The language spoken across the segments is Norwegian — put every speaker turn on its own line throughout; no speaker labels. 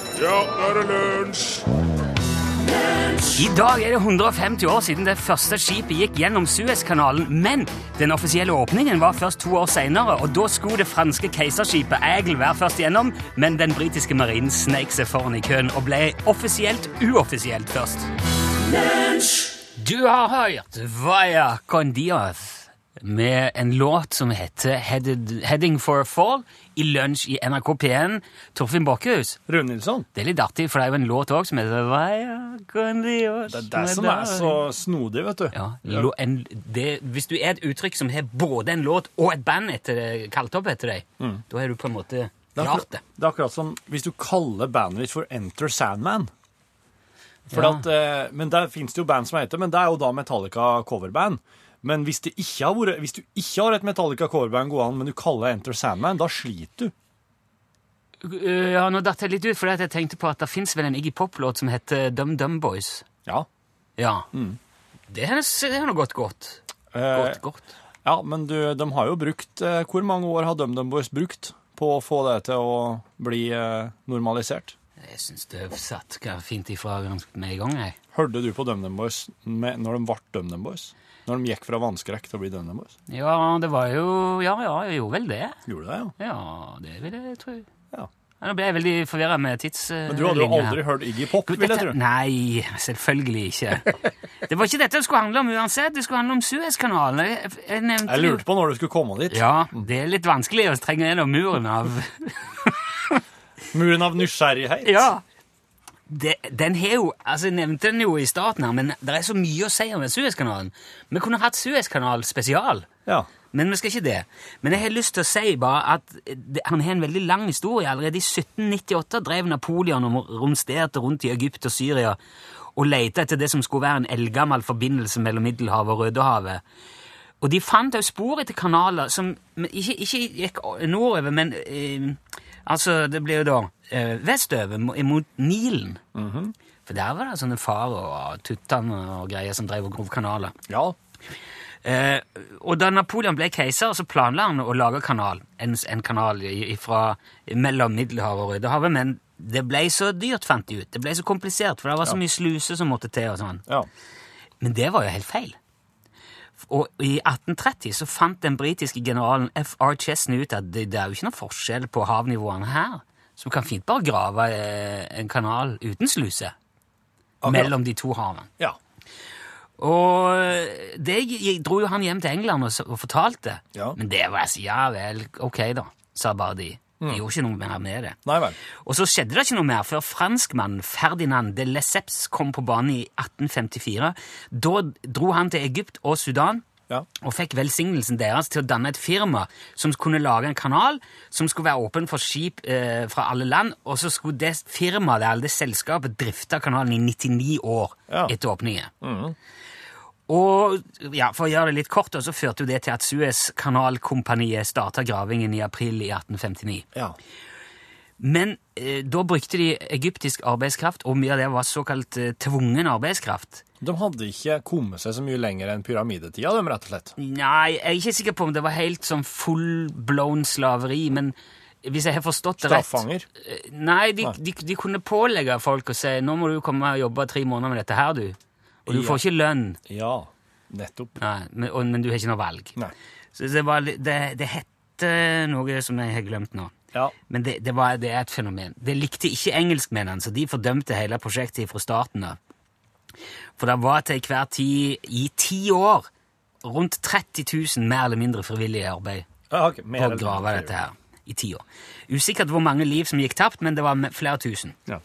er det lunsj!
I dag er det 150 år siden det første skipet gikk gjennom Suezkanalen, men den offisielle åpningen var først to år senere, og da skulle det franske keiserskipet Eagle være først gjennom, men den britiske marinen snek seg foran i køen og ble offisielt uoffisielt først. Du har hørt Vaya Condios med en låt som heter Headed, Heading for a Fall i lunsj i NRK P1. Torfinn Bakkehus.
Rune Nilsson.
Det er litt artig, for det er jo en låt òg som heter Vaya con Dios.
Det er det som er så snodig, vet du.
ja, lo, en, det, Hvis du er et uttrykk som har både en låt og et band etter det, kalt opp etter deg, da har du på en måte
Mm. Det er,
klart
akkurat,
det.
det er akkurat som hvis du kaller bandet ditt for Enter Sandman. For
Ja.
at, eh, men Der fins det jo band som heter men det er jo da Metallica coverband. Men hvis, det ikke har vært, hvis du ikke har et Metallica coverband gående, men du kaller det Enter Sandman, da sliter du.
Uh, Ja, Nå datt jeg litt ut, for jeg tenkte på at det fins vel en Iggy Pop-låt som heter Dum Dum Boys.
Ja.
Ja. Det har det har nå gått godt.
Mm. Eh,
Godt, godt.
ja, men du, de har jo brukt eh, Hvor mange år har DumDum Boys brukt på å få det til å bli eh, normalisert?
Jeg syns det satt ga- fint ifra ganske med en gang, jeg.
Hørte du på DumDum Boys med, når de ble DumDum Boys? Når de gikk fra vannskrekk til å bli DumDum Boys?
Ja, det var jo Ja, ja, jeg gjorde vel det.
Gjorde du det, ja?
Ja, det vil jeg tro.
Ja.
Ja, Nå ble jeg veldig forvirra med eh, tidslinja.
Men du hadde jo aldri hørt Iggy Pop, vil jeg tro.
Nei, selvfølgelig ikke. Det var ikke dette det skulle handle om uansett. Det skulle handle om Suezkanalen. Jeg, jeg nevnte
Jeg lurte på når du skulle komme dit.
Ja, det er litt vanskelig å trenge gjennom muren av
Muren av nysgjerrighet.
Ja. Det, den har jo, altså Jeg nevnte den jo i starten, her, men det er så mye å si om den Suezkanalen. Vi kunne hatt Suezkanal spesial,
Ja.
men vi skal ikke det. Men jeg har lyst til å si bare at det, han har en veldig lang historie. Allerede i 1798 drev Napoleon og romsterte rundt i Egypt og Syria og lette etter det som skulle være en eldgammel forbindelse mellom Middelhavet og Rødehavet. Og de fant også spor etter kanaler som men ikke, ikke gikk nordover, men eh, altså, det ble jo da eh, vestover, mo- mot Nilen. For der var det sånne farer og tuttan og greier som drev og grov kanaler.
ja.
Eh, og da Napoleon ble keiser, så planla han å lage kanal, en, en kanal i- ifra, mellom Middelhavet og Rødehavet, men det ble så dyrt, fant de ut. Det ble så komplisert, for det var så mye sluser som måtte til. og sånn.
ja.
Men det var jo helt feil. Og i 1830 så fant den britiske generalen F.R. Chesney ut at det, det er jo ikke noen forskjell på havnivåene her, så du kan fint bare grave eh, en kanal uten sluse mellom de to havene.
Ja.
Og det gi- dro jo han hjem til England og, s- og fortalte.
Ja.
Men det var altså, ja vel, ok da, sa bare de. De gjorde ikke noe mer med det.
Nei vel.
Og så skjedde det ikke noe mer før franskmannen Ferdinand de Lesseps kom på banen i 1854. Da dro han til Egypt og Sudan
Ja.
og fikk velsignelsen deres til å danne et firma som kunne lage en kanal som skulle være åpen for skip eh, fra alle land, og så skulle det firmaet, det, det selskapet, drifte kanalen i 99 år
Ja.
etter åpningen. Og ja, For å gjøre det litt kort, da, så førte jo det til at Suezkanalkompaniet starta gravingen i april i 1859.
Ja.
Men eh, da brukte de egyptisk arbeidskraft, og mye av det var såkalt eh, tvungen arbeidskraft.
De hadde ikke kommet seg så mye lenger enn pyramidetida, de, rett og slett.
Nei, jeg er ikke sikker på om det var helt sånn full-blown slaveri, men hvis jeg har forstått det rett
Straffanger.
Eh, Nei, de, de, de kunne pålegge folk å si nå må du komme og jobbe tre måneder med dette her, du. Og du
Ja.
får ikke lønn.
Ja. Nettopp.
Nei, men, og, men du har ikke noe valg.
Nei.
Så det, var, litt- det, det hette noe som jeg har glemt nå.
Ja.
Men det, det, var, det er et fenomen. Det likte ikke engelskmennene, så de fordømte hele prosjektet fra starten av. For det var til hver tid i ti år rundt 30 000 mer eller mindre frivillige i arbeid
Ja, ok, mer
på å
eller
grave
mindre.
dette her. I ti år. Usikkert hvor mange liv som gikk tapt, men det var me- flere tusen.
Ja.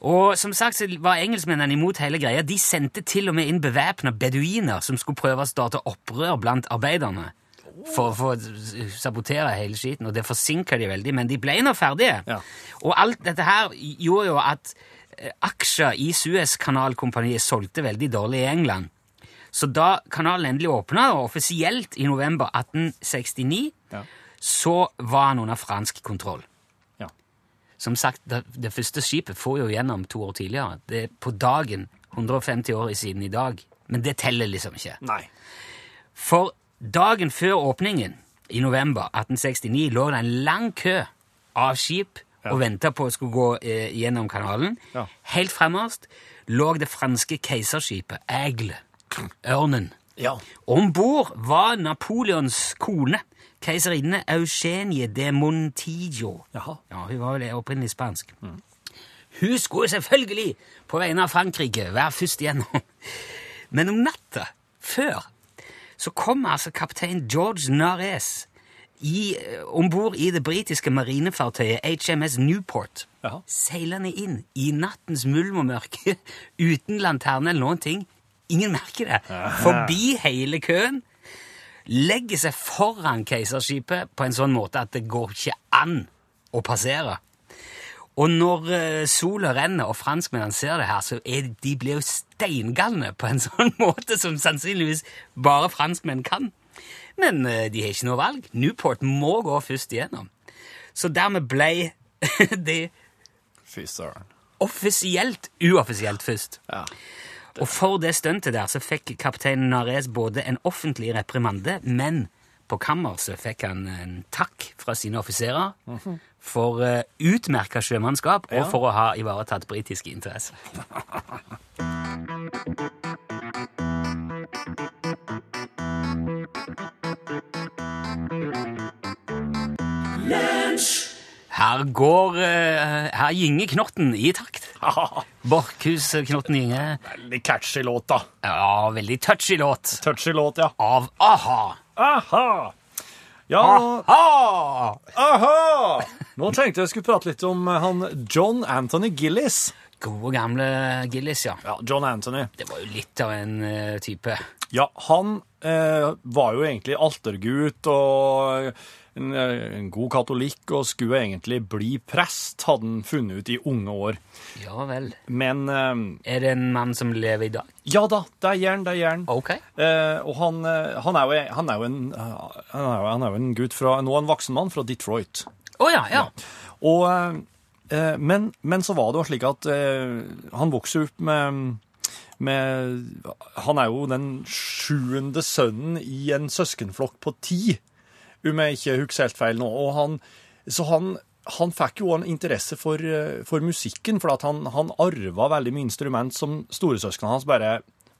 Og som sagt så var engelskmennene imot hele greia. De sendte til og med inn bevæpna beduiner som skulle prøve å starte opprør blant arbeiderne. For, for å s- sabotere hele skiten, og det forsinka de veldig, men de ble nå ferdige.
Ja.
Og alt dette her gjorde jo at eh, aksjer i Suezkanalkompaniet solgte veldig dårlig i England. Så da kanalen endelig åpna, og offisielt i november 1869,
Ja.
så var han under fransk kontroll.
Ja.
Som sagt, det, det første skipet får jo gjennom to år tidligere. Det er på dagen 150 år siden i dag. Men det teller liksom ikke.
Nei.
For dagen før åpningen, i november 1869, lå det en lang kø av skip og venta på å skulle gå eh, gjennom kanalen.
Ja.
Helt fremmest lå det franske keiserskipet Aigle, Ørnen.
Ja.
Om bord var Napoleons kone, keiserinne Eugenie de Montijo.
Jaha.
Ja, Hun var vel opprinnelig spansk. Hun skulle selvfølgelig, på vegne av Frankrike, være først igjennom. Men om natta før så kom altså kaptein George Nares om bord i det britiske marinefartøyet HMS Newport
Jaha.
seilende inn i nattens mulm og mørke uten lanterne eller noen ting. Ingen merker det. Forbi hele køen. Legger seg foran keiserskipet på en sånn måte at det går ikke an å passere. Og når eh, sola renner og franskmennene ser det her, så er de blir jo steingalne på en sånn måte som sannsynligvis bare franskmenn kan. Men eh, de har ikke noe valg. Newport må gå først igjennom. Så dermed ble de
Fy søren.
offisielt uoffisielt først.
Ja.
Og for det stuntet der så fikk kaptein Nares både en offentlig reprimande, men på kammer så fikk han en takk fra sine offiserer for uh, utmerka sjømannskap og for å ha ivaretatt britiske interesser. Her går eh, Her gynger knotten i takt. Borchhus-knotten gynger.
Veldig catchy låt, da.
Ja, veldig touchy låt
Touchy låt, ja.
av a-ha.
Aha! Ja,
A-ha!
Ah. aha! Nå tenkte jeg skulle prate litt om eh, han John Anthony Gillis.
Gode gamle Gillis, ja.
Ja, John Anthony.
Det var jo litt av en eh, type.
Ja, han eh, var jo egentlig altergut og en, eh, en god katolikk og skulle egentlig bli prest, hadde han funnet ut i unge år.
Ja vel.
Men eh,
Er det en mann som lever i dag?
ja da, det er jern, det er jern.
Ok.
Eh, og han, eh, han, er jo, han er jo en, eh, han er jo, han er jo en gutt fra, nå en voksen mann fra Detroit.
Å ja, ja.
Og, eh, men, men så var det jo slik at eh, han vokste opp med, med Han er jo den sjuende sønnen i en søskenflokk på ti, om jeg ikke husker helt feil nå. Og han, så han, han fikk jo en interesse for, eh, for musikken, for at han, han arva veldig mye instrument som storesøsknene hans bare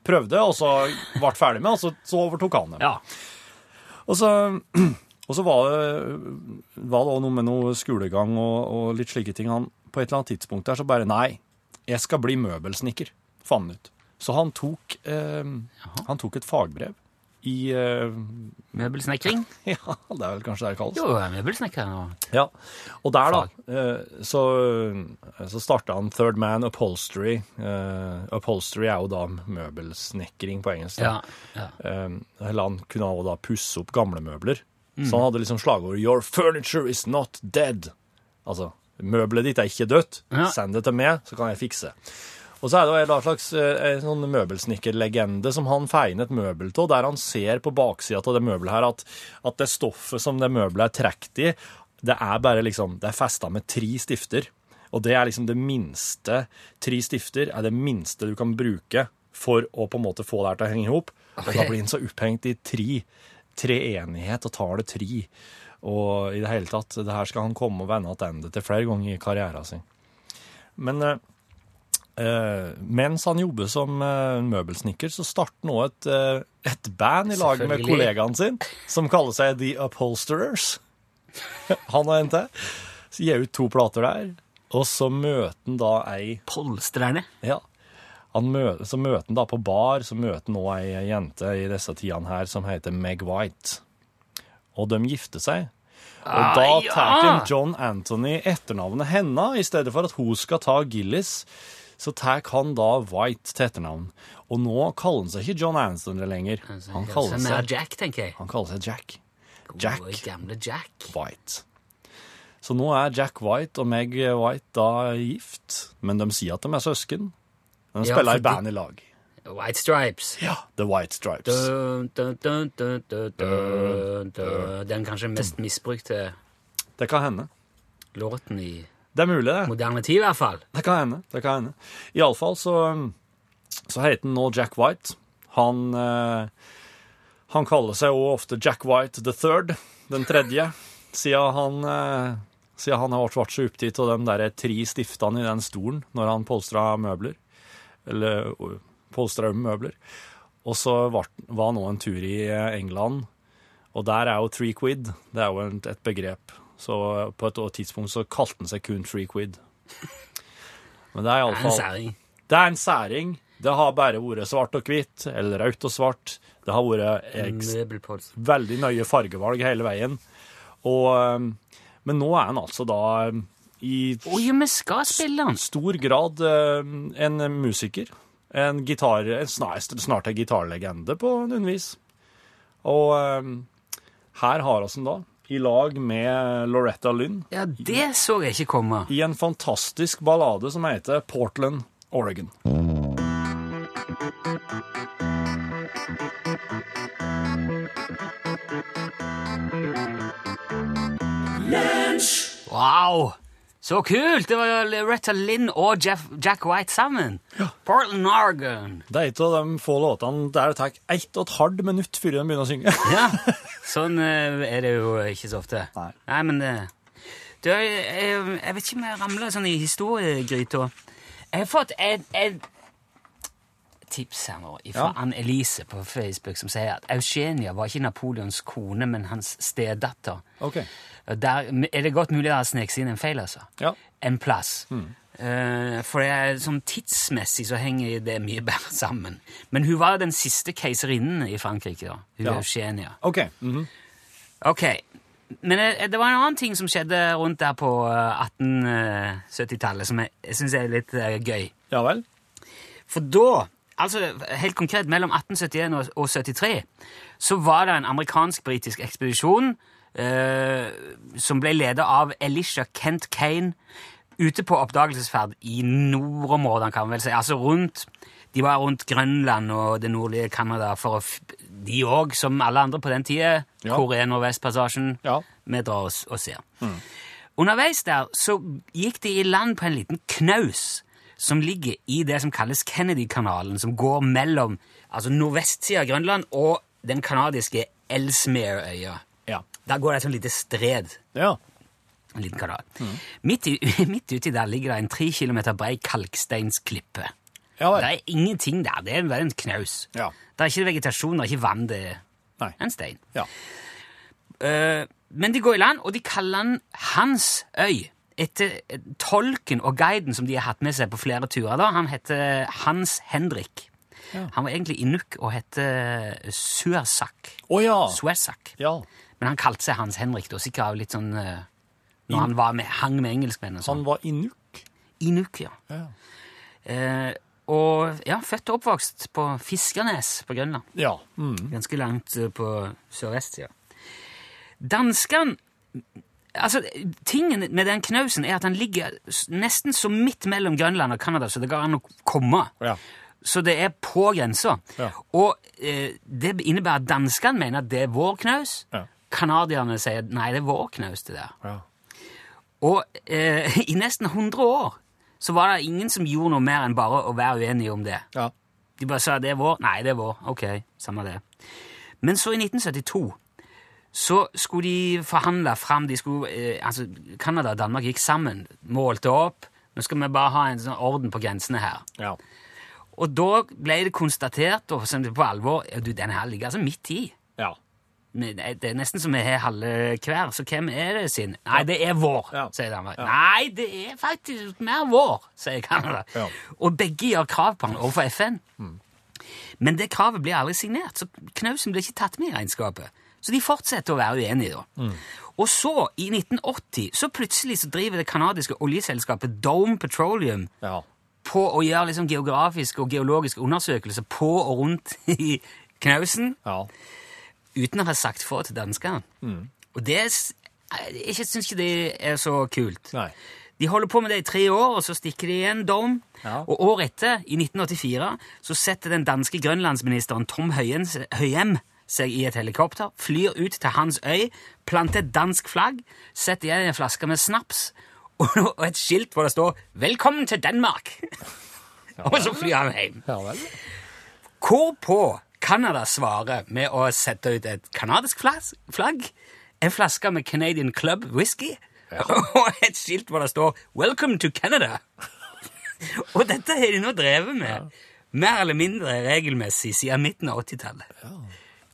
prøvde, og så ble ferdig med, og så, så overtok han dem.
Ja.
Og så, og så var, det, var det også noe med noe skolegang og, og litt slike ting. Han, på et eller annet tidspunkt der så bare Nei, jeg skal bli møbelsnekker, fant han ut. Så han tok, eh, han tok et fagbrev i eh,
Møbelsnekring?
Ja, det er vel kanskje det det kalles.
Jo, jeg er møbelsnekker. nå.
Ja. Og der, da, eh, så, eh, så starta han Third Man Upholstery. Eh, upholstery er jo da møbelsnekring på engelsk. da.
Ja, ja.
Um, eller han kunne også da pusse opp gamle møbler. Så han hadde liksom slagordet 'Your furniture is not dead'. Altså, møbelet ditt er ikke dødt.
Ja.
Send det til meg, så kan jeg fikse. Og så er det jo en eller annen slags eh, en sånn møbelsnekkerlegende som han feinet møbel av, der han ser på baksida av det møbelet her at, at det stoffet som det møbelet er trukket i, det er bare liksom Det er festa med tre stifter. Og det er liksom det minste Tre stifter er det minste du kan bruke for å på en måte få det her til å henge i hop. Og da
Ok.
blir han så opphengt i tre. Treenighet og tallet tre. Og i det hele tatt, det her skal han komme og vende tilbake til flere ganger i karrieren sin. Men eh, Eh, mens han jobber som eh, møbelsnekker, så starter han også et, eh, et band i lag med
Selvfølgelig.
kollegaen sin, som kaller seg The Upholsterers. han og en til. Så gir jeg ut to plater der, og så møter han da ei
Polstrerne.
ja. Han mø, så møter han da på bar, så møter han nå ei jente i disse tidene her som heter Meg White. Og de gifter seg. Og da
ja!
tar han John Anthony etternavnet henne, i stedet for at hun skal ta Gillis. Så tar han da White til etternavn. Og nå kaller han seg ikke John Anthony lenger. Han kaller
Altså, Som er
seg,
Jack, tenker jeg.
han kaller seg Jack. Jack.
Gode, gamle Jack.
White. Så nå er Jack White og Meg White da gift, men de sier at de er søsken. De
Ja,
spiller i
fordi-
band i lag.
White Stripes.
Ja, The White Stripes.
Dun, dun, dun, dun, dun, dun, dun. Den kanskje mest misbrukte
Det kan hende.
låten i
Det er mulig, det.
moderne tid, i hvert fall.
Det kan hende. det kan hende. Iallfall så, um, så heter han nå Jack White. Han, eh, han kaller seg også ofte Jack White the Third, den tredje, siden han, eh, Siden han har vært så opptatt av de der tre stiftene i den stolen når han polstra møbler. Eller ø, polstra om møbler. Og så var, var han nå en tur i eh, England, og der er jo three quid. Det er jo en- et begrep. Så eh, på et tidspunkt så kalte han seg kun three quid. Men det er
Er en
iallfall
særing.
det er en særing. Det har bare vært svart og hvitt, eller rødt og svart. Det har vært eh,
Mm.
eks-
Møbelpolsk.
veldig nøye fargevalg hele veien. Og, eh, men nå er han altså da eh, i
Å ja, vi skal spille den!
stor grad eh, en musiker. En gitar, en snart, snart en gitarlegende på noen vis. Og eh, her har vi den da, i lag med Loretta Lynn,
Ja, det så jeg ikke komme.
i en fantastisk ballade som heter Portland, Oregon.
Wow! Så kult! Det var jo Loretta Lynn og Jeff, Jack White sammen. Portland Oregon.
Det er et av de få låtene der det tar ett og et halvt minutt før de begynner å synge.
Ja, sånn eh, er det jo ikke så ofte.
Nei.
men eh, du, jeg, jeg, jeg vet ikke om jeg ramler sånn i historiegryta. Jeg har fått et, et tips her nå fra
Ja.
Ann-Elise på Facebook, som sier at Eugenia var ikke Napoleons kone, men hans stedatter.
Ok.
Og Der er det godt mulig å ha sneket seg inn en feil, altså.
Ja. Mm.
En plass. Eh, for det er, sånn tidsmessig så henger det mye bedre sammen. Men hun var den siste keiserinnen i Frankrike, da. Hun
Ja.
Eugenia.
Ok. mhm.
Ok, men eh, det var en annen ting som skjedde rundt der på eh, 1870-tallet som jeg, jeg syns er litt eh, gøy.
Ja vel.
For da, altså helt konkret mellom 1871 og, og 73, så var det en amerikansk-britisk ekspedisjon eh, som ble ledet av Elisha Kent Kane ute på oppdagelsesferd i nordområdene, kan man vel si. Altså rundt De var rundt Grønland og det nordlige Canada for å f- De òg, som alle andre på den tida.
Ja.
Korea, Nordvestpassasjen.
Ja.
Vi drar oss og ser.
Mm.
Underveis der så gikk de i land på en liten knaus som ligger i det som kalles Kennedy-kanalen, som går mellom altså nordvestsida av Grønland og den kanadiske Elsmere-øya.
Ja.
Der går det et sånt lite stred.
Ja.
En liten kanal.
Mm.
Midt, i, midt uti der ligger det en tre kilometer brei kalksteinsklippe.
Ja
Det
vel.
er ingenting der. Det er bare en knaus.
Ja.
Det er ikke vegetasjon, det er ikke vann. Det er
Nei.
en stein.
Ja.
Eh, men de går i land, og de kaller den Hans øy. Etter eh, tolken og guiden som de har hatt med seg på flere turer. da, Han heter Hans Henrik. Han var egentlig inuk og het Suersak.
Å ja.
Suersak.
Ja.
Men han kalte seg Hans Henrik, da, sikkert av litt sånn eh, Når han var med, hang med engelskmennene. og Sånn.
Han var inuk.
Inuk, ja.
Ja.
Eh, og ja, født og oppvokst på Fiskernes på Grønland.
Ja. Mm.
Ganske langt eh, på sørvestsida. Danskene Altså, tingen med den knausen er at han ligger s- nesten så midt mellom Grønland og Canada, så det går an å komme.
Ja.
Så det er på grensa.
Ja.
Og eh, det innebærer at danskene mener at det er vår knaus.
Ja.
Canadierne sier nei, det er vår knaus, det der.
Ja.
Og eh, i nesten 100 år så var det ingen som gjorde noe mer enn bare å være uenige om det.
Ja.
De bare sa det er vår. Nei, det er vår. Ok, samme det. Men så i 1972 så skulle de forhandle fram de skulle, eh, altså Canada og Danmark gikk sammen, målte opp. Nå skal vi bare ha en sånn orden på grensene her.
Ja.
Og da ble det konstatert, og som det på alvor, ja, du, den her ligger altså midt i.
Ja.
Men eh, Det det er nesten som vi har halve hver, så hvem er det sin? Nei, det er vår,
Ja.
sier Danmark. Nei, det er faktisk mer vår, sier Canada.
Ja. Mm.
Og begge gjør krav på den overfor FN. Men det kravet blir aldri signert, så knausen blir ikke tatt med i regnskapet. Så de fortsetter å være uenige, da.
Mm.
Og så, i 1980, så plutselig så driver det kanadiske oljeselskapet Dome Petroleum
Ja.
på å gjøre liksom geografiske og geologiske undersøkelser på og rundt i knausen
Ja.
uten å ha sagt fra til danskene.
Mm.
Og det er s- Jeg syns ikke det er så kult.
Nei.
De holder på med det i tre år, og så stikker de igjen dom.
Ja.
Og året etter, i 1984, så setter den danske grønlandsministeren Tom Høyen, Høyem seg i et helikopter, flyr ut til hans øy, planter et dansk flagg, setter igjen en flaske med snaps og, og et skilt hvor det står 'Velkommen til Danmark'. og så flyr han hjem.
Ja vel.
Hvorpå Canada svarer med å sette ut et kanadisk flas- flagg, en flaske med Canadian Club whisky og et skilt hvor det står 'Welcome to Canada'. og dette har de nå drevet med mer eller mindre regelmessig siden midten av 80-tallet.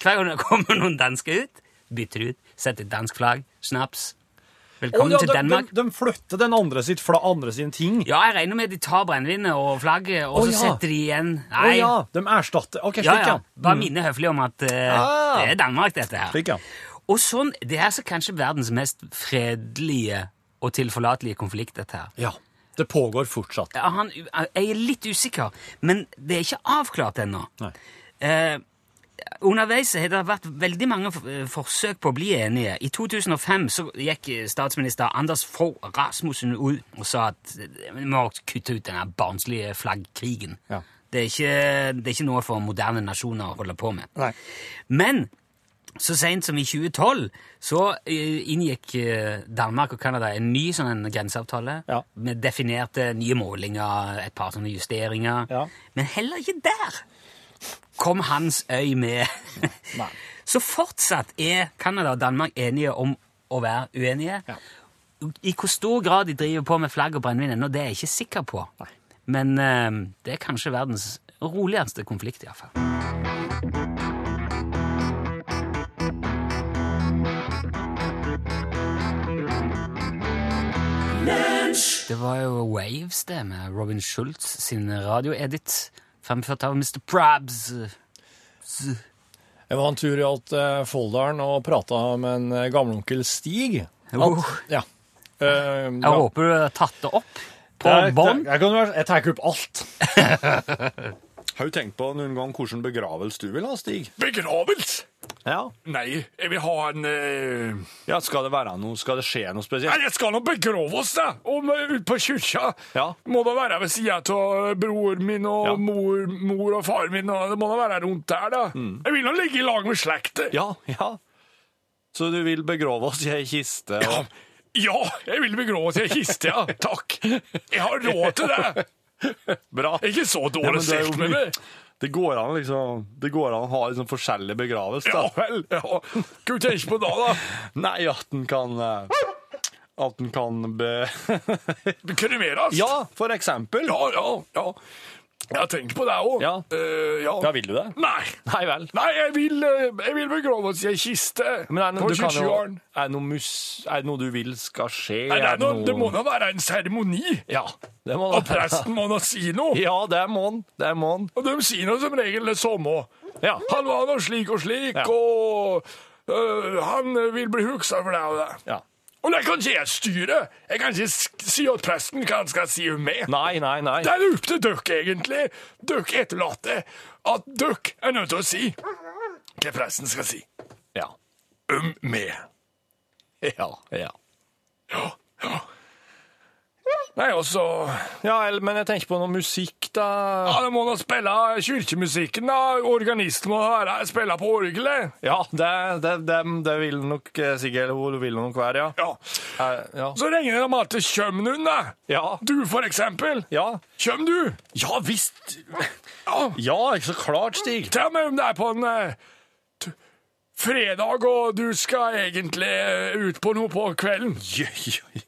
Hver gang det kommer noen dansker ut, bytter de ut, setter et dansk flagg, snaps.
Å,
Velkommen
ja,
til
de, de,
Danmark.
de flytter den andre, sitt, fra andre sine ting.
Ja, jeg regner med at de tar brennevinet og flagget, og
Å,
så
ja.
setter de igjen.
Å
Nei,
ja, de erstatter. OK,
ja,
slik,
ja.
ja.
Bare minne høflig om at eh,
Mm. Ah.
det er Danmark, dette her.
Slik, ja.
Og sånn, Det er altså kanskje verdens mest fredelige og tilforlatelige konflikt, dette her.
Ja, det pågår fortsatt.
Ja, han, jeg er litt usikker, men det er ikke avklart ennå.
Nei.
Eh, underveis har det vært veldig mange f- eh, forsøk på å bli enige. I 2005 så gikk eh, statsminister Anders Fogh Rasmussen ut og sa at eh, vi må kutte ut denne barnslige flaggkrigen.
Ja.
Det, er ikke, det er ikke noe for moderne nasjoner å holde på med.
Nei.
Men så sent som i 2012 så eh, inngikk eh, Danmark og Canada en ny sånn en grenseavtale
Ja.
med definerte nye målinger, et par sånne justeringer.
Ja.
Men heller ikke der kom hans øy med.
Nei.
så fortsatt er Canada og Danmark enige om å være uenige.
Ja.
I hvor stor grad de driver på med flagg og brennevin ennå, det er jeg ikke sikker på. Men eh, det er kanskje verdens roligste konflikt, iallfall. Det var jo Waves, det, med Robin Schultz sin radioedit, fremført av Mr. Prabs.
Jeg var en tur i alt eh, Folldalen og prata med en eh, gammelonkel Stig. At,
Oh.
Ja. Eh,
Jeg
ja.
håper du har tatt det opp på
Jeg-
bånd.
Jeg, jeg, kan være- jeg tar ikke opp alt. Har du tenkt på noen gang hvilken begravelse du vil ha, Stig?
Begravelse?
Ja.
Nei, jeg vil ha en eh,
ja skal det være noe? Skal det skje noe
Nei,
spesielt?
jeg skal nå begrave oss, da! Om, eh, ut på kyrkja.
Ja.
Må da være ved sida av broren min og
Ja.
mor, mor og far min, og det må da være rundt der, da. Jeg vil nå ligge i lag med slektet.
Mm. Ja, ja. Så du vil begrave oss i ei kiste? Og...
Ja. ja, jeg vil begrave til ei kiste, ja. Takk. Jeg har råd til det.
Bra.
Ikke så
Ja, men
dårlig
det er jo
stelt med
mye-
meg.
Det går an liksom, det går an å ha liksom forskjellig begravelse,
Ja
da.
vel. Ja. Skal vi tenke på det, da?
Nei, at den kan eh, At den kan be...
Kremeres?
Ja, for eksempel.
ja, ja. ja. Jeg har tenkt på det òg.
Ja.
ja.
Ja, vil du det?
Nei.
Nei vel.
Nei, jeg vil, eh, jeg vil begraves i ei kiste
Men er det,
på
noe- du kan jo,
kirkegården.
er, det noe mus, er det noe du vil skal skje?
Nei, det,
Er
er noe, det må da være en seremoni,
Ja, det må
og
det være.
presten må da si noe.
Ja, det må han. Det må han.
Og de sier nå som regel det samme.
Ja.
Han var nå slik og slik,
Ja.
og øh, han vil bli huksa for det og det.
ja.
Og det kan ikke jeg styre. Jeg kan ikke sk- si at presten kan skal si med.
Nei, nei, nei.
Det er opp til dere, egentlig, dere etterlatte, at dere er nødt til å si hva presten skal si
Ja.
om meg.
Ja, ja.
Ja, ja. Nei, og så
Ja, eller- men jeg tenker på noe musikk, da.
Ja, det må da spille kirkemusikken, da. Organisten må da være spille på orgelet.
Ja, det, det, det, det vil nok eh, sikkert hun vil nok være, ja.
Ja.
Eh, Ja.
Så ringer de at det kjem noen, da.
Ja.
Du, for eksempel.
Ja,
Kjem du?
ja visst.
Ja.
Ja, så klart, Stig.
Til og med om det er på en eh, t- fredag, og du skal egentlig eh, ut på noe på kvelden.
Ja, ja,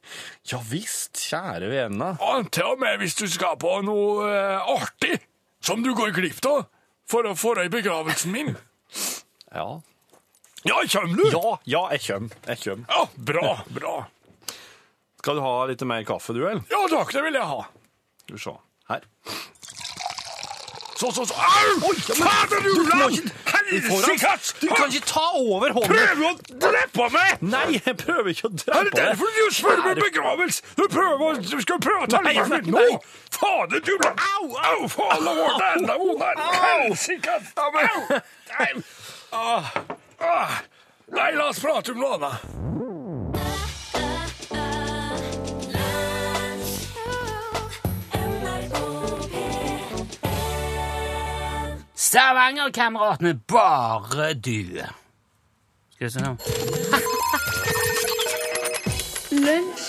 ja visst, kjære vene.
Ja, til og med hvis du skal på noe eh, artig, som du går glipp av for å få deg i begravelsen min.
Ja.
Ja, kjem du?
Ja, ja, jeg kjøm. Jeg kjøm.
Ja, bra, bra.
Skal du ha litt mer kaffe, du, eller?
Ja takk, det vil jeg ha.
Skal vi se. sånn. Her.
Så, så, så. Au!
Oi, ja, men-
Fader, du
Du
lam!
kan ikke-
Helsikatt!
Du kan ikke ta over hånden!
Prøver å drepe meg!
Nei, jeg prøver ikke å
Er det
drepe deg.
derfor du spør meg om begravelse? Du prøver å Du skal prøve å ta
Nei,
livet mitt nå!
nei.
Fader, du Au, au, faen! Det var enda vondere! Helsikatt! Au! Nei. Ah, ah. Nei, la oss prate om noe annet.
Stavanger-kameratene, bare du. Skal vi se nå.
Lunsj,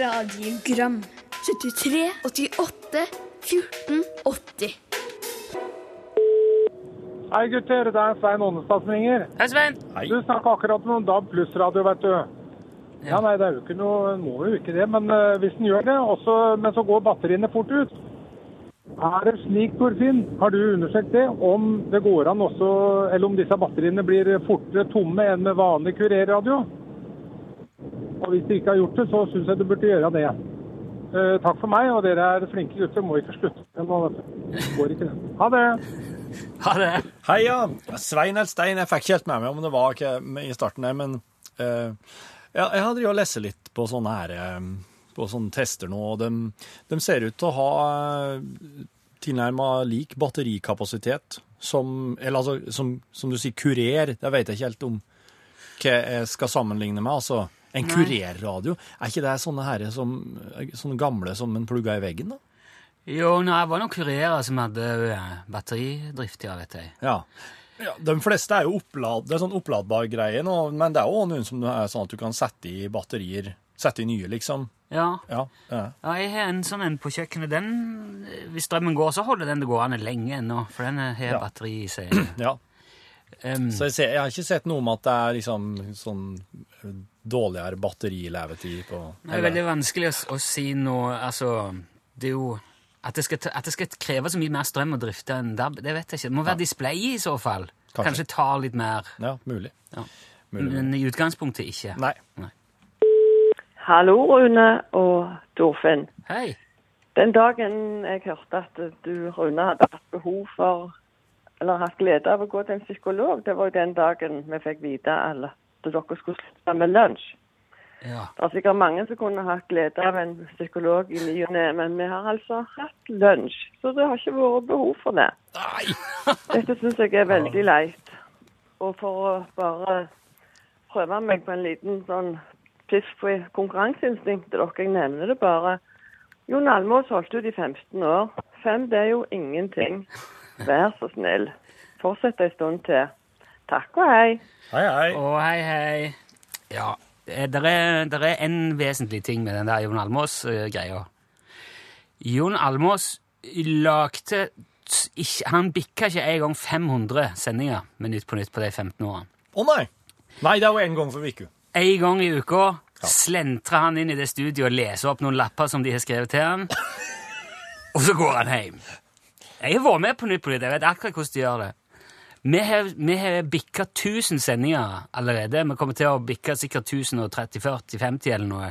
radiogram 73, 88, 14, 80
Hei gutter, det er Svein Ånestad som ringer.
Hei, Svein.
Hei.
Du snakka akkurat med noen DAB pluss-radio, vet du. Ja, nei, det er jo ikke noe, må jo ikke det. Men eh, hvis den gjør det, også, men så går batteriene fort ut. Er det slik, Torfinn, har du undersøkt det, om det går an også, eller om disse batteriene blir fortere tomme enn med vanlig kurerradio? Og hvis du ikke har gjort det, så syns jeg du burde gjøre det. Eh, takk for meg, og dere er flinke gutter. Må ikke slutte med det nå, vet du. Går ikke det. Ha det!
Ha det.
Heia! Svein eller Stein, jeg fikk ikke helt med meg om det var ikke med i starten her, men eh, ja, jeg hadde jo lest litt på sånne her, eh, på sånne tester nå, og de, ser ut til å ha uh, tilnærmet lik batterikapasitet som, eller altså, som, som du sier, kurer, det vet jeg ikke helt om hva jeg skal sammenligne med, altså. En kurerradio, er ikke det sånne her som, sånne gamle som en plugger i veggen da?
Jo, nei, det var noen kurerer som hadde eh, batteridrift, ja, vet jeg.
Ja. De fleste er jo opplad, det er sånn oppladbar greie nå, men det er jo også noen som er sånn at du kan sette i batterier, sette i nye, liksom.
Ja.
Ja, ja.
ja, jeg har en sånn en på kjøkkenet. Den, eh, hvis strømmen går, så holder den det gående lenge ennå, for den eh, har
Ja.
batteri i seg.
ja.
Em,
Så jeg, ser, jeg har ikke sett noe om at det er liksom sånn dårligere batterilevetid på
det er veldig vanskelig å, s- å si noe, altså, det er jo... At det, skal, ta- at det skal kreve så mye mer strøm å drifte enn DAB, det vet jeg ikke. Det må være display i så fall. Kanskje,
Kanskje.
ta litt mer,
Ja, mulig.
Ja.
mulig. mulig.
men i utgangspunktet ikke.
Nei.
Hallo, Rune og Torfinn.
Hei!
Den dagen jeg hørte at du, Rune, hadde hatt behov for, eller hatt glede av å gå til en psykolog, det var jo den dagen vi fikk vite alle at dere skulle slutte med lunsj.
Ja.
Det er sikkert mange som kunne hatt glede av en psykolog i ny og ne, men vi har altså hatt lunsj, så det har ikke vært behov for det.
Nei!
Dette syns jeg er veldig leit. Og for å bare prøve meg på en liten sånn piff på konkurranseinstinktet dere, jeg nevner det bare. Jon Almaas holdt ut i 15 år. Fem, det er jo ingenting. Vær så snill. Fortsett ei stund til. Takk og hei.
Hei, hei.
Å, hei, hei. Ja, det er, der er en vesentlig ting med den der Jon Almås-greia. Jon Almås lagde t- ikke, Han bikka ikke engang 500 sendinger med Nytt på Nytt på de 15 årene.
Å nei! Nei, det er jo en gang for uka.
En gang i uka slentrer han inn i det studioet og leser opp noen lapper som de har skrevet til han, og så går han hjem. Jeg har vært med på Nytt på Nytt, jeg vet akkurat hvordan de gjør det. Vi har, vi har bikka 1000 sendinger allerede. Vi kommer til å bikke sikkert 1030-40-50 eller noe.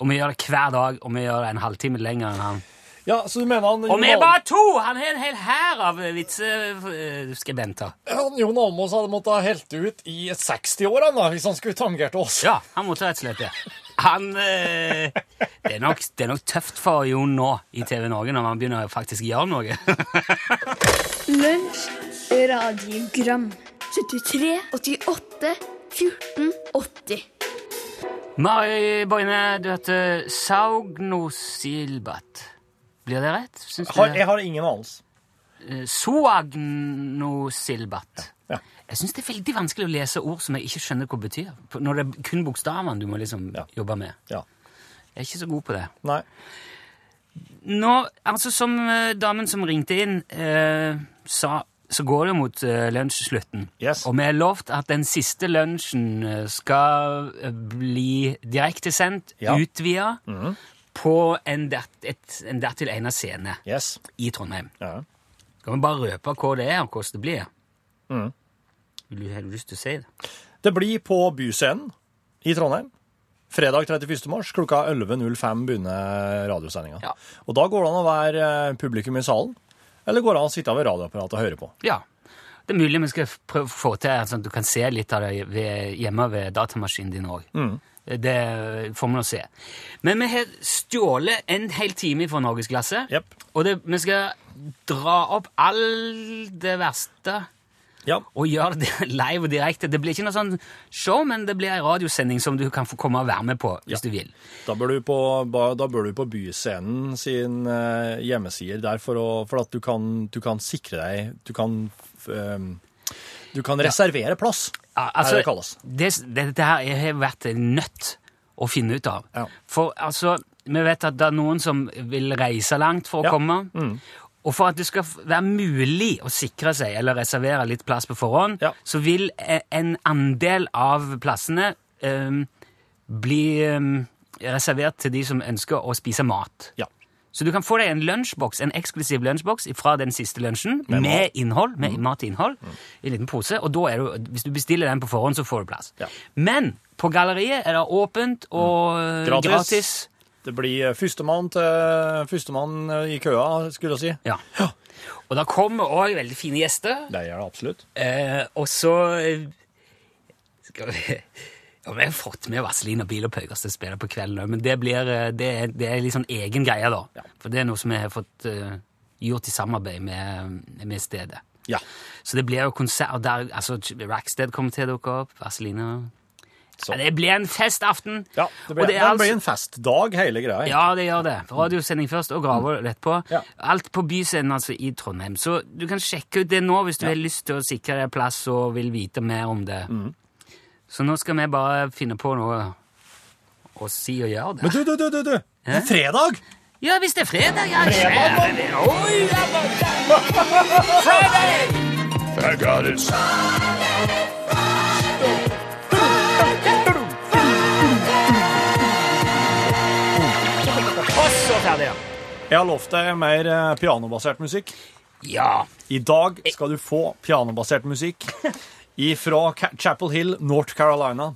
Og vi gjør det hver dag, og vi gjør det en halvtime lenger enn han.
Ja, så du mener han
Og
Jon
vi er
Al-
bare to! Han har en hel hær av eh, vitseskribenter.
han Jon Almaas hadde måttet ha helt ut i 60-årene da, hvis han skulle tangert oss.
Ja, han måtte rett og slett det. Han, eh, det, er nok, det er nok tøft for Jon nå i TV Norge, når man begynner å faktisk gjøre noe.
Lunsj radiogram 73 88 14 80
Mari Boine, du heter Saugnosilbat. Blir det rett? Syns du
Har,
det?
jeg har ingen anelse.
Eh, Soagnosilbat.
Ja.
Jeg syns det er veldig vanskelig å lese ord som jeg ikke skjønner hva betyr. på- Når det er kun bokstavene du må liksom
Ja.
jobbe med.
Ja.
Jeg er ikke så god på det.
Nei.
Nå, altså som eh, damen som ringte inn eh, sa, så går det jo mot eh, lunsjslutten.
Yes.
Og vi har lovt at den siste lunsjen eh, skal eh, bli direktesendt,
Ja. Mhm.
utvida, på en, dert, et, en dertil egnet scene
Yes.
i Trondheim.
Ja.
Kan vi bare røpe hva det er, og hvordan det blir?
Mhm.
Vil du, har du lyst til å si det?
Det blir på Byscenen i Trondheim. Fredag 31. mars klokka 11.05 begynner radiosendinga.
Ja.
Og da går det an å være eh, publikum i salen, eller går det an å sitte ved radioapparatet og høre på.
Ja. Det er mulig vi skal prøve å få til sånn at du kan se litt av det ved, hjemme ved datamaskinen din òg. Det får vi nå se. Men vi har stjålet en hel time fra norgesklasse.
Jepp.
Og det, vi skal dra opp all det verste
Ja.
og gjøre det live og direkte. Det blir ikke noe sånn show, men det blir ei radiosending som du kan få komme og være med på hvis du vil.
Da bør du på, ba- da bør du på Byscenen sin eh, hjemmesider der, for, å, for at du kan, du kan sikre deg Du kan f- em, du kan reservere plass,
Ja, altså-
er det det kalles.
det, det, dette her jeg har vært nødt å finne ut av.
Ja.
For altså, vi vet at det er noen som vil reise langt for å
Ja. Mm.
komme. Og for at det skal f- være mulig å sikre seg eller reservere litt plass på forhånd,
Ja.
så vil eh, en andel av plassene eh, bli ehm, reservert til de som ønsker å spise mat.
Ja.
Så du kan få deg en lunsjboks, en eksklusiv lunsjboks fra den siste lunsjen, med, innhold,
Mm.
med matinnhold, i en liten pose, og da er du, hvis du bestiller den på forhånd, så får du plass.
Ja. Mm.
Men på galleriet er det åpent og eh,
Gratis.
gratis.
Det blir eh, førstemann til førstemann eh, i køa, skulle jeg si.
Ja. Og da kommer også veldig fine gjester,
Det gjør det absolutt.
eh, og så eh, skal vi... Ja, vi har fått med Vaseline og Bil og Pøykers til å spille på kvelden, også, men det, blir, eh, det, er, det er litt sånn egen greie da. For det er noe som vi har fått eh, gjort i samarbeid med, med stedet.
Ja.
Så det blir jo konsert og der, altså, Rackstead kommer til å dukke opp, Vazelina
Så.
ja, Det blir en festaften!
ja det blir,
og
det
det er
blir
altså,
en festdag, hele greia.
ja, det gjør det. Radiosending først, og graver rett på.
Mm. Ja.
Alt på Byscenen, altså, i Trondheim. Så du kan sjekke ut det nå hvis du har lyst til å sikre deg plass og vil vite mer om det.
Mm.
Så nå skal vi bare finne på noe å si og gjøre det.
Men du, du, du, du! du. Det er fredag!
Ja, hvis det er fredag, ja. Fredag, Oi, ja, men- fredag!
I got it.
Og så ferdig, ja.
Jeg har lovt deg mer eh, pianobasert musikk.
Ja.
I dag skal du få pianobasert musikk fra Chapel Hill, North Carolina.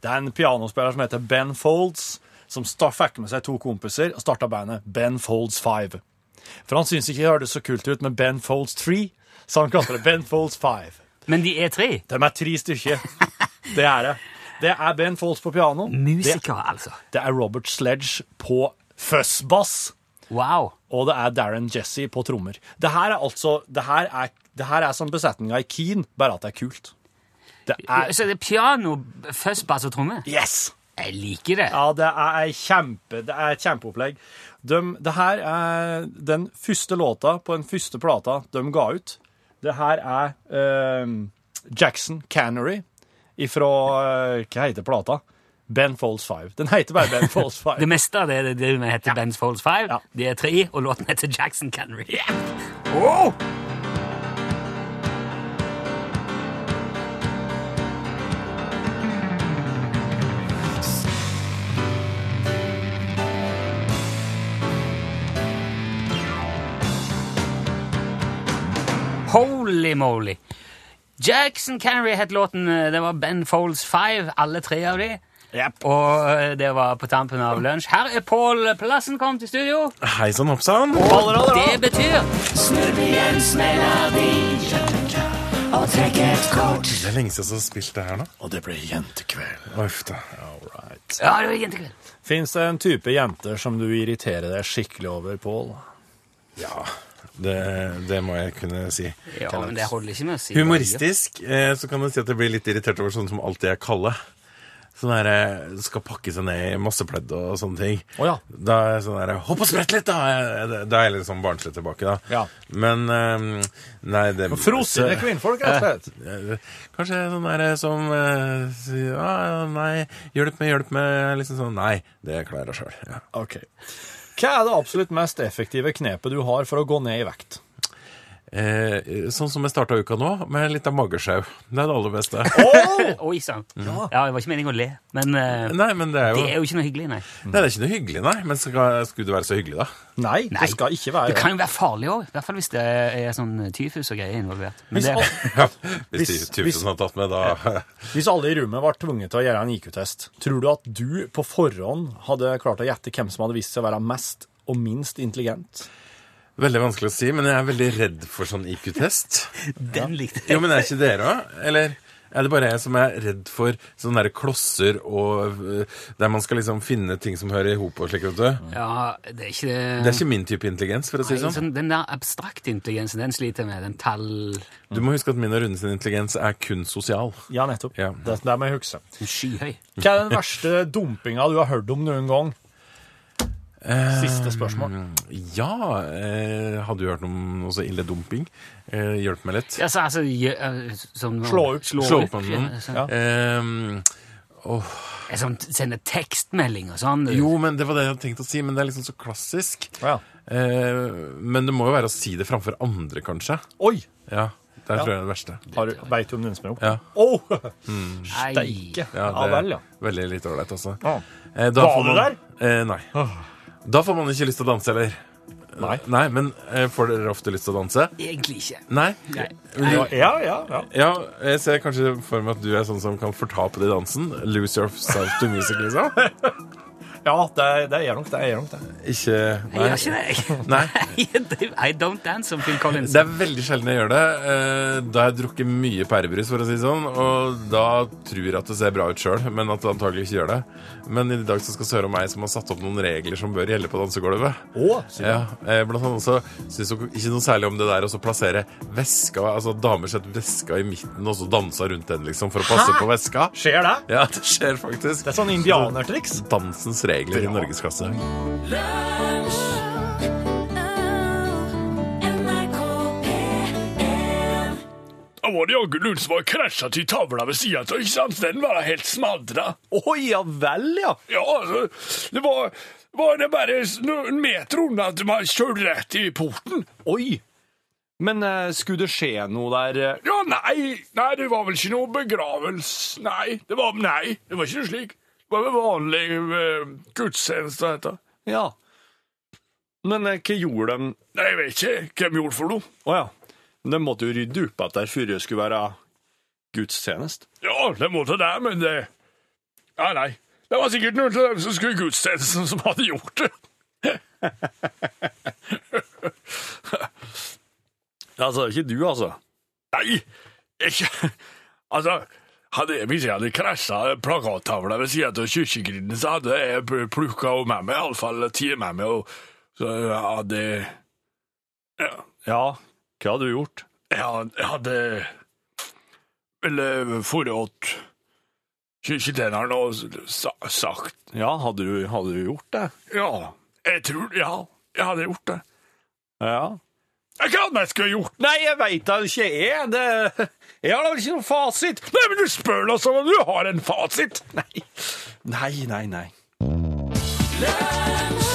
Det er en pianospiller som heter Ben Folds, som sta- fikk med seg to kompiser og starta bandet Ben Folds Five. For han syntes ikke det hørtes så kult ut med Ben Folds Three, så han kalte det Ben Folds Five.
Men de er tre.
De er tre stykker. Det er det. Det er Ben Folds på piano. Det,
Musikere, altså.
det er Robert Sledge på fuzzbass
Wow.
og det er Darren Jesse på trommer. Det her er altså Det her er, det her er som besetninga i Keen, bare at det er kult. Det er
Så det er piano, først bass og tromme?
Yes!
Jeg liker det.
Ja, det er ei kjempe, det er et kjempeopplegg. De, det her er den første låta på den første plata de ga ut. Det her er ehm, Jackson Cannery ifra eh, Hva heter plata? Ben Folds Five. Den heter bare Ben Folds
Det
Five.
meste av det, det, det heter Ben's Folds Five.
Ja.
De er tre, og låten heter Jackson Canary. Holy moly! Jackson Canary het låten. eh, Det var Ben Folds Five, alle tre av de.
Yep.
Og eh, det var på tampen av lunsj. Her er Pål Plassen kommet i studio.
Hei sann, hopp sann.
Det betyr
Det er lenge siden jeg har spilt det her nå.
Og det ble jentekveld.
Å, Uff da.
All right.
Ja, det var jentekveld.
Fins det en type jenter som du irriterer deg skikkelig over, Pål?
Ja, det, det må jeg kunne si.
Ja, men det holder ikke med å si
Humoristisk eh, så kan du si at jeg blir litt irritert over sånne som alltid er kalde. Sånn der, eh, skal pakke seg ned i massepledd og sånne ting.
Å ja.
Da er jeg sånn der, Hopp og sprett litt, da! Da er jeg litt sånn barnslig tilbake, da.
Ja.
Men eh, Nei, det
Frosne kvinnfolk, rett og slett.
Eh, Kanskje sånn der som eh, sier ah, Nei, hjelp meg, hjelp meg. Liksom sånn Nei, det klarer jeg sjøl. Ja.
Ok. Hva er det absolutt mest effektive knepet du har for å gå ned i vekt?
Eh, sånn som jeg starta uka nå, med litt av magesjau. Det er det aller beste.
Oi, Oi sann. Ja. det var ikke meningen å le, men eh,
Nei, men det er jo
det er jo ikke noe hyggelig, nei.
Nei, det er ikke noe hyggelig, nei. Men skal, skulle det være så hyggelig, da?
Nei,
Nei.
det skal ikke
Det
være det.
kan jo være farlig òg, i hvert fall hvis det er sånn tyfus og greier involvert. Men
Hvis,
det,
al
Ja, hvis
Hvis- hvis-
Tyfesen har tatt med, da
hvis alle i rommet var tvunget til å gjøre en IQ-test, tror du at du på forhånd hadde klart å gjette hvem som hadde vist seg å være mest og minst intelligent?
Veldig vanskelig å si, men jeg er veldig redd for sånn IQ-test.
den likte jeg.
Jo, men er ikke dere òg? Eller er det bare jeg som er redd for sånne der klosser og øh, Der man skal liksom finne ting som hører i hop og slik, vet du.
Ja, det er ikke det.
Det er ikke min type intelligens, for å si
Mm. Nei,
det sånn.
sånn, den der abstrakte intelligensen, den sliter jeg med. Den tall...
Du må huske at min og Rune sin intelligens er kun sosial.
Ja, nettopp.
Ja.
Det, det må jeg huske.
den Skyhøy.
Hva er den verste dumpinga du har hørt om noen gang? Siste spørsmål.
Eh, Ja, eh, hadde du hørt om noe så ille dumping? Eh, hjelp meg litt.
Altså, altså gjø- eh, sånn,
Slå ut.
Slå opp med
ja,
noen.
sånn,
Ja.
Eh,
Eh, sånn, Sende tekstmelding og sånn.
jo, men det var det jeg hadde tenkt å si, men det er liksom så klassisk.
Ja.
Eh, men det må jo være å si det framfor andre, kanskje.
Oi!
Ja. Der tror jeg er det verste.
Har du- Vet du om den som er oppe?
Ja.
Åh!
Nei.
Steike. Ja,
det er
vel, ja.
Veldig litt ålreit også.
Ja.
Eh, da
Ah. Var
får
du Ah.
man- Eh, nei. Da får man ikke lyst til å danse heller.
Nei.
Nei, men eh, får dere ofte lyst til å danse?
Egentlig ikke.
Nei.
Nei.
Ja, ja, ja.
Ja, jeg ser kanskje for meg at du er sånn som kan fortape det i dansen. Lose yourself to music, liksom.
Ja, det er, det er nok det. Er nok det.
Ikke
Jeg
Nei.
gjør ikke det.
Nei.
jeg. I don't dance som Phil Collins.
Det er veldig sjelden jeg gjør det. eh, Da har jeg drukket mye pærebrus, for å si det sånn, og da tror jeg at det ser bra ut sjøl, men at det antagelig ikke gjør det. Men i dag så skal Søre og meg som har satt opp noen regler som bør gjelde på dansegulvet.
Å, sier
Ja, eh, blant annet så syns hun ikke noe særlig om det der å så plassere veska Altså at damer setter veska i midten og så danser rundt den, liksom, for å passe på veska.
Skjer det?
Ja, det skjer faktisk.
Det er sånn indianertriks.
Dansens regler i
Ja.
norgesklasse.
Da var det jaggu noen som var krasja til tavla ved sida av, ikke sant? Den var da helt smadra.
Å ja vel, ja.
Ja, altså, det var, var det bare s- noen meter unna at man kjørte rett i porten.
Oi. Men eh, skulle det skje noe der eh,
Ja, nei, nei, det var vel ikke noe begravelse. Nei, det var, nei, det var ikke noe slik. Det var vel vanlig uh, gudstjeneste, dette.
Ja. Men eh, hva gjorde de
Nei, jeg vet ikke hvem gjorde for noe.
Å ja. De måtte jo rydde opp etter før det skulle være gudstjeneste.
Ja, det måtte det, men det Nei, nei. Det var sikkert noen av dem som skulle i gudstjenesten, som hadde gjort det.
Altså, ikke du, altså.
Nei, ikke Altså, hadde jeg, hvis jeg hadde krasja plakattavla ved sida av kirkegrinden, så hadde jeg plukka med meg, iallfall tatt med meg, og så hadde jeg-
Ja, hva hadde du gjort?
Jeg hadde vel eh, for åt kirketjeneren og sa, sagt
Ja, hadde du, hadde du gjort det?
Ja, jeg tror Ja, jeg hadde gjort det.
Ja.
Jeg kan hva jeg skulle ha gjort.
Nei, jeg veit da ikke jeg. Det, jeg har da vel ikke noe fasit.
Nei, men du spør da som om du har en fasit!
Nei, nei, nei.
Lunsj,